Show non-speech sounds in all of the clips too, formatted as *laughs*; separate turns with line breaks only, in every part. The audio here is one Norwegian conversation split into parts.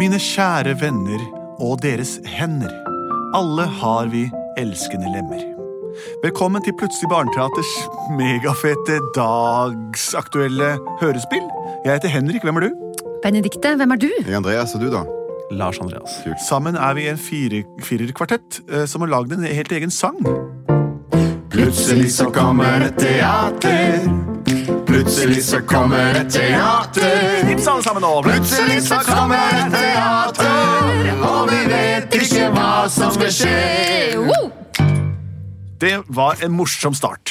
Mine kjære venner og deres hender. Alle har vi elskende lemmer. Velkommen til Plutselig barneteaters megafete dagsaktuelle hørespill. Jeg heter Henrik, hvem er du?
Benedikte, hvem er du?
Hei, Andreas, og du da?
Lars Andreas.
Sammen er vi en fire- firerkvartett eh, som har lagd en helt egen sang.
Plutselig så kommer et teater. Plutselig så kommer et teater.
Knips alle sammen nå!
Plutselig så kommer et teater, og vi vet ikke hva som skal skje.
Wow!
Det var en morsom start.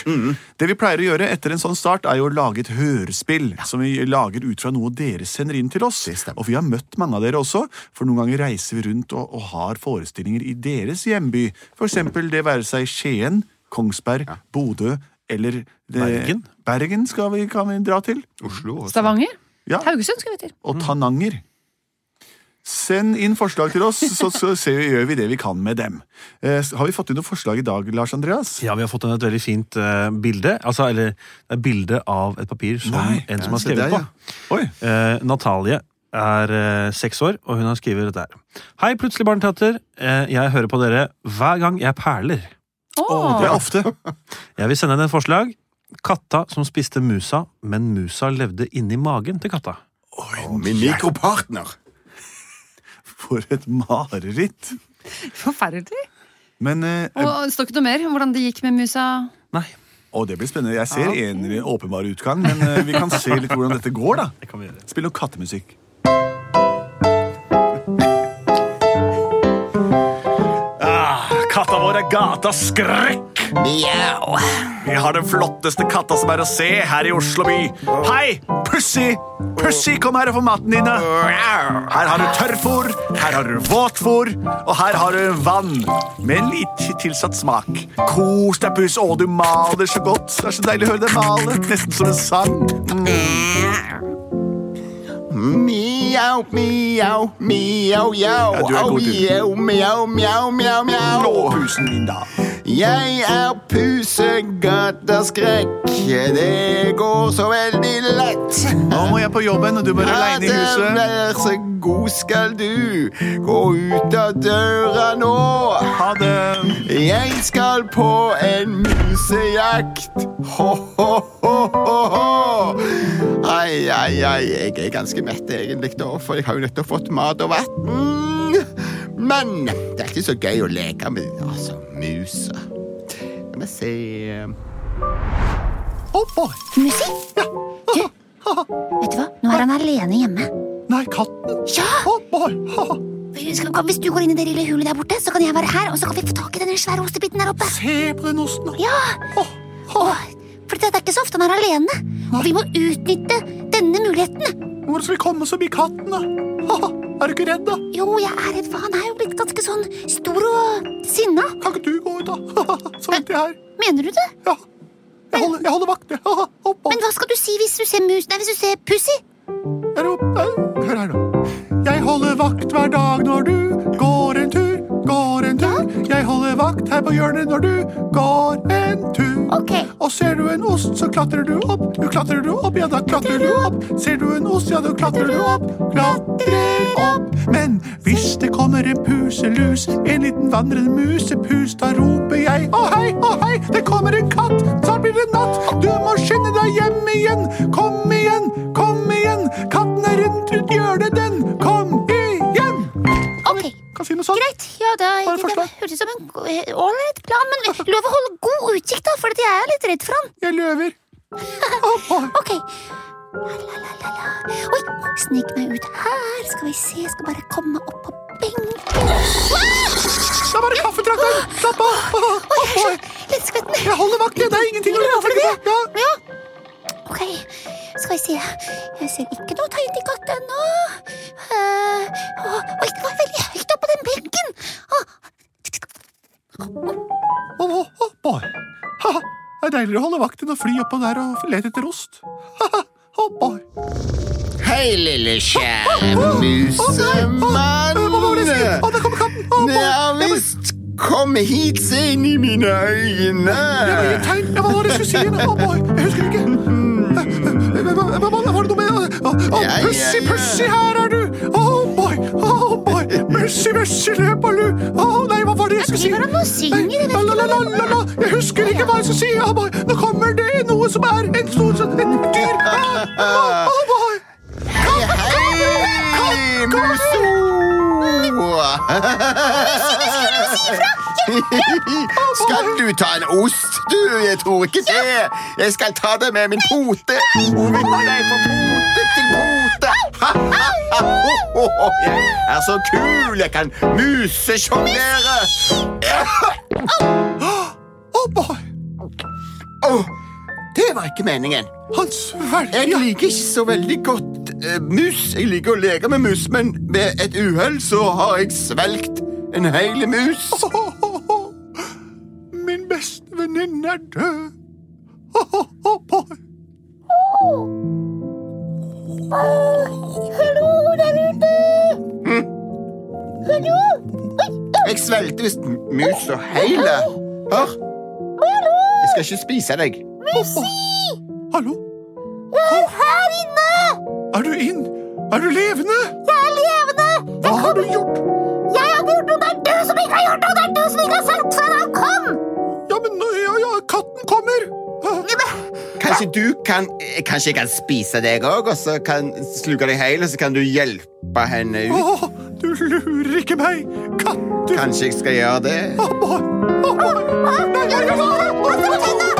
Det vi pleier å gjøre etter en sånn start, er jo å lage et hørespill som vi lager ut fra noe dere sender inn til oss. Og vi har møtt mange av dere også, for noen ganger reiser vi rundt og, og har forestillinger i deres hjemby. For eksempel det være seg Skien, Kongsberg, Bodø eller det,
Bergen.
Bergen skal vi, kan vi dra til.
Oslo også.
Stavanger?
Ja.
Haugesund skal vi til.
Og Tananger. Send inn forslag til oss, så, så ser vi, gjør vi det vi kan med dem. Eh, har vi fått inn noen forslag i dag, Lars Andreas?
Ja, vi har fått inn et veldig fint eh, bilde. Altså, eller det er bilde av et papir som
Nei,
en som har
se
skrevet
der,
på.
ja.
Oi!
Eh, Natalie er eh, seks år, og hun har skrevet dette her. Hei, plutselig barneteater. Eh, jeg hører på dere hver gang jeg perler.
Åh,
Det er ofte.
Jeg vil sende henne et forslag. Katta som spiste musa, men musa levde inni magen til katta.
Og Min mikropartner.
For et mareritt!
Forferdelig.
Men eh,
Og det står ikke noe mer om hvordan det gikk med musa.
Nei,
Å, det blir spennende. Jeg ser en åpenbar utgang, men eh, vi kan se litt hvordan dette går, da.
det kan vi gjøre.
Spill noe kattemusikk. Ah, katta vår er gatas skrekk! Vi har den flotteste katta som er å se her i Oslo by. Hei, Pussy! Pussy, kom her og få maten dine. Her har du tørrfôr, her har du våtfôr, og her har du vann. Med litt tilsatt smak. Kos deg, Puss. Å, du maler så godt. Det er så deilig å høre deg male. Nesten som en sang.
Mjau, mjau, mjau, jau.
Ja, du er
Au,
god, du.
jau, mjau, mjau,
Nå,
mjau, mjau.
pusen min, da.
Jeg er pusegatterskrekk. Det går så veldig lett.
Nå må jeg på jobben, og du bare
Ja,
aleine i
det
huset.
Vær så god skal du gå ut av døra nå.
Ha det.
Jeg skal på en musejakt. Ho-ho-ho-ho. Ai, ai, ai. Jeg er ganske mett egentlig, da, for jeg har jo nettopp fått mat og vann. Men det er ikke så gøy å leke med altså, musa. La meg se
Oh, boy.
Musi? Du, vet du hva? Nå er han alene hjemme.
Nei, katten.
Ja!
Oh, boy. Ha, ha.
Skal- kan- Hvis du går inn i det lille hulet der borte, så kan jeg være her, og så kan vi få tak i den svære ostebiten der oppe.
Se på den osten. da.
Ja!
Åh,
Åh, for det er ikke så ofte han er alene. Og vi må utnytte denne muligheten.
Hvordan skal vi komme oss forbi katten, da? Ha, ha. Er du ikke redd, da?
Jo, jeg er redd, for han er jo blitt ganske sånn stor og sinna.
Kan ikke du gå ut, da? Så venter jeg her.
Mener du det?
Ja. Jeg holder, jeg holder vakt. jeg. Hopp, hopp.
Men hva skal du si hvis du ser mus... Nei, hvis du ser Pussy?
Jeg roper. Hør her, nå. Jeg holder vakt hver dag når du går en tur, går en tur. Jeg holder vakt her på hjørnet når du går en tur.
Ok.
Og ser du en ost, så klatrer du opp. Du klatrer du opp, ja, da klatrer du opp. Ser du en ost, ja, da klatrer du opp. Klatrer opp. Men hvis det kommer en puselus, en liten vandrende musepus, da roper jeg å hei, å hei, det kommer en katt, snart blir det natt. Du må skynde deg hjem igjen. Kom igjen, kom igjen. Katten er rundt rundt hjørnet, den. Kom igjen.
Ok.
Kan si noe sånt.
Greit. Ja, da,
Bare
det
forslag.
hørtes ut som en eh, ålreit plan,
*laughs*
men lov å holde god utkikk, da, for at jeg er litt redd for han.
Jeg
*laughs*
løver. Opp, opp.
Ok. La-la-la-la-la. Oi, snik meg ut her. Skal vi se, jeg skal bare komme meg opp på benken.
Da var det
*gasps*
kaffetrakteren. Slapp av. Opp,
Oi, jeg er så
opp.
litt skvetten.
Jeg holder vakt, jeg. Det er ingenting å
Lover du
tenke på. Ja.
Ja. Ok, skal vi se. Jeg ser ikke noe tegn til katt ennå. Eh,
var deiligere å holde vakt enn å fly oppå der og lete etter ost. Ha-ha, hoppar.
Hei, lille kjære
Hva var det jeg skulle si? Å,
musemann.
der kommer katten! Å,
Det
boy.
har visst kommet hit seg inn i mine øyne.
Det var ingen tegn. Ja, Hva var det jeg skulle si? igjen? Å, boy. Jeg husker ikke. Hva- hva- hva- hva- Var det noe med Å, å,
Ja, ja,
Pussy,
ja.
pussy, her er du! Å, boy. Å, boy. Mussy, mussy, løp og lu. Å, nei, hva var det jeg skulle si?
Driver han og synger? Jeg vet
La, la, la, la, la, la. Jeg husker ikke hva jeg skal si. Å, boy. Nå kommer det noe som er en stor sånn et dyr. Å, å, å, boy.
Hei, muso! Skal du ta en ost? Du, jeg tror ikke det. Jeg skal ta det med min pote. Hodet deg fra pote til pote. *laughs* Ha, ha, ha, ho, ho, ho. Jeg er så kul. Jeg kan musesjonglere.
Å, boy.
Åh, det var ikke meningen.
Hans verdige
Jeg liker ikke så veldig godt eh, mus. Jeg liker å leke med mus, men ved et uhell så har jeg svelgt en hel mus.
Åhåhå. Min beste venninne er død. Åhåhå, boy.
Hallo der ute!
Hm?
Hallo!
Jeg svelgte visst mus og hele. Hør. Jeg skal ikke spise deg.
Hallo?
Jeg er her inne!
Er du inn? Er du levende?
Jeg er levende!
Hva har du gjort?
Jeg har gjort noe! Det er du som ikke har gjort noe! Det er du som ikke har sagt før han kom!
Ja, men nå- ja, ja, katten kommer.
Kanskje du kan eh, Kanskje jeg kan spise deg òg, og så kan sluke deg hel, og så kan du hjelpe henne ut?
Åh, du lurer ikke meg. Katter.
Kanskje jeg skal gjøre det?
Åh, boy. Åh, boy. Nei, nei, nei, nei.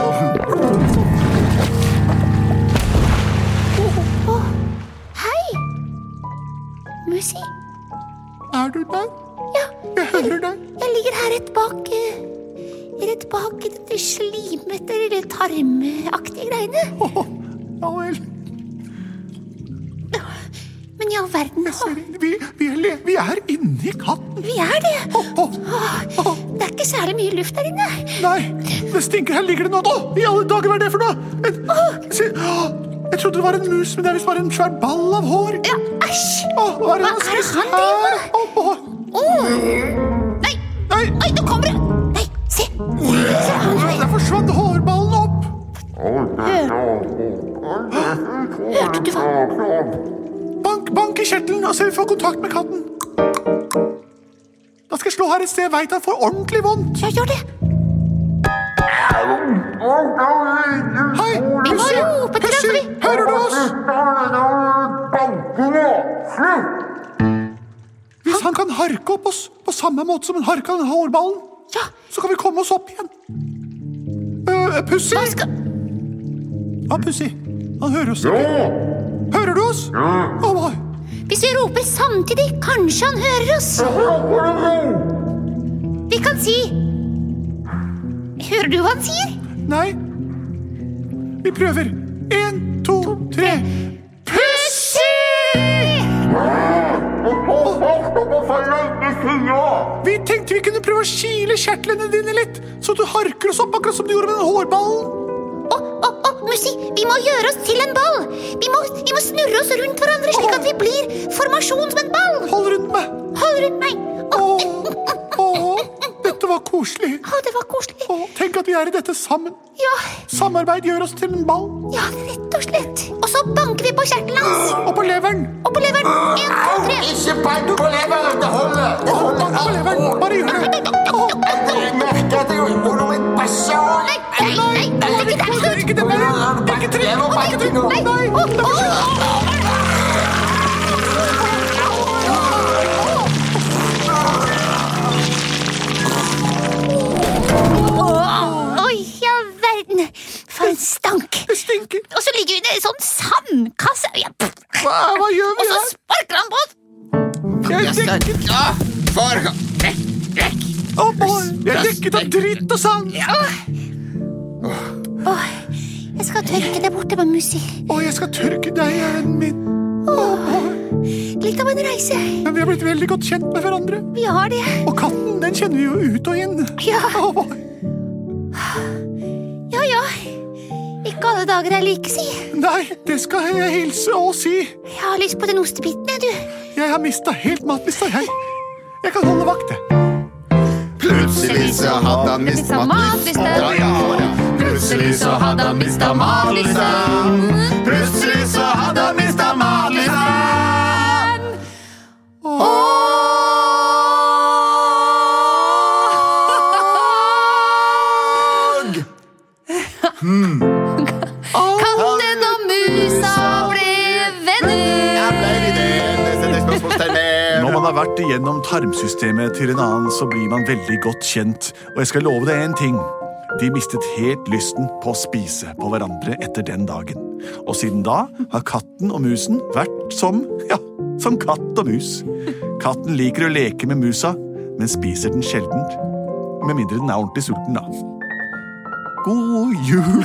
Hei! Musi,
Er du der?
ja,
Jeg hører deg.
jeg ligger her rett bak eh, Rett bak de slimete, eller tarmaktige greiene.
Åh, ja vel.
Men i all verden, å,
Vi, vi, er le vi er inni katten.
vi er det!
Åh,
Å, Det er ikke særlig mye luft der inne.
Nei, det stinker. Her ligger det noe. Å, i alle dager, hva er det for noe? En, se, å, jeg trodde det var en mus, men det er visst bare en svær ball av hår.
Ja, æsj!
Å, hva er det han
Hva er det
spiser
han driver
her? Å, å,
Nei!
nei,
Oi, nå kommer det! Nei, se! Se han
der forsvant hårballen opp.
Hørte du hva?
Bank, bank i kjertelen og se om vi får kontakt med katten. Da skal jeg slå her et sted jeg veit han får ordentlig vondt.
Ja, gjør det!
Hei, Pussy!
roper til deg,
Pussy,
fordi-
hører du oss? Hvis han kan harke opp oss på samme måte som han harka den hårballen,
Ja,
så kan vi komme oss opp igjen. Øh, Pussy?
hva skal
Ja, Pussy. Han hører oss. Hører du oss? Ja. boy.
Hvis vi roper samtidig, kanskje han hører oss. Vi kan si Hører du hva han sier?
Nei. Vi prøver. Én, to, tre.
Pussy!
Vi tenkte vi kunne prøve å kile kjertlene dine litt, så du harker oss opp akkurat som du gjorde med den hårballen.
Å, å, å, Mussi, vi må gjøre oss til en ball. Vi må, vi må snurre oss rundt hverandre slik at vi blir formasjon som en ball.
Hold rundt meg.
Hold rundt meg. Å,
Åh, åh, dette var koselig.
å, det var koselig.
Åh, tenk at vi er i dette sammen.
Ja,
Samarbeid gjør oss til en ball.
ja, rett og slett. Og så banker vi på kjertelen hans.
Og på leveren.
Og på leveren. En, to, tre.
Ikke bank på leveren! Det holder! Det
Åh,
holder.
bank på leveren. Bare gjør det.
Jeg merker at jeg holder meg bæsja.
Nei, nei, nei, nei, ikke der. Slutt.
Ikke det mer. Ikke trykk.
Jeg må
Ikke
banke
trykk.
nå.
Nei.
Nei. Å, å, å, å. Oi, ja verden! For en stank!
Det stinker.
Og så ligger vi i en sånn sandkasse ja, pff.
Hva, hva gjør
Og
vi
så
her?
sparker han på oss!
Jeg er dekket.
Ja, for vekk, vekk.
Å, boy. Jeg er dekket av dritt og sand.
Åh, jeg skal tørke det borte med Mussi.
Og jeg skal tørke deg i øynene mine.
Litt av en reise.
Men vi har blitt veldig godt kjent med hverandre.
Vi har det.
Og katten, den kjenner vi jo ut og inn.
Ja.
Å, boy.
Ja, Ja ja. Ikke alle dager er like, si.
Nei, det skal jeg hilse og si.
Jeg har lyst på den ostebiten, jeg, du.
Jeg har mista helt matlysta, jeg. Jeg kan holde vakt, jeg.
Plutselig så hadde han mistet
Mistet matlysten.
matlysten. Ja, ja, ja. Plutselig så hadde han mistet matlysten. Plutselig så hadde han mistet matlysten. Og
Katten og musa ble
Jeg ble
venner.
i det. Neste neste spørsmålstegn er-
Når man har vært igjennom tarmsystemet til en annen, så blir man veldig godt kjent. Og jeg skal love deg én ting. De mistet helt lysten på å spise på hverandre etter den dagen. Og siden da har katten og musen vært som ja, som katt og mus. Katten liker å leke med musa, men spiser den sjelden. Med mindre den er ordentlig sulten, da. God jul!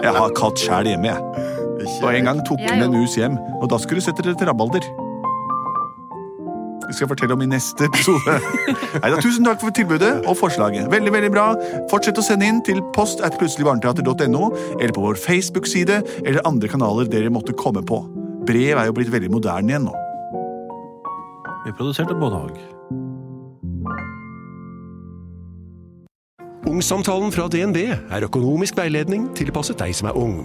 *laughs* jeg har katt sjæl hjemme, jeg. Og en gang tok hun
Jeg
en
òg.
mus hjem, og da skulle du sette dere til rabalder. Det skal jeg fortelle om i neste episode. *laughs* Neida, tusen takk for tilbudet og forslaget. Veldig, veldig bra. Fortsett å sende inn til post at plutseligbarneteater.no, eller på vår Facebook-side, eller andre kanaler dere måtte komme på. Brev er jo blitt veldig moderne igjen nå.
Vi produserte både og.
Ungsamtalen fra DNB er økonomisk veiledning tilpasset deg som er ung.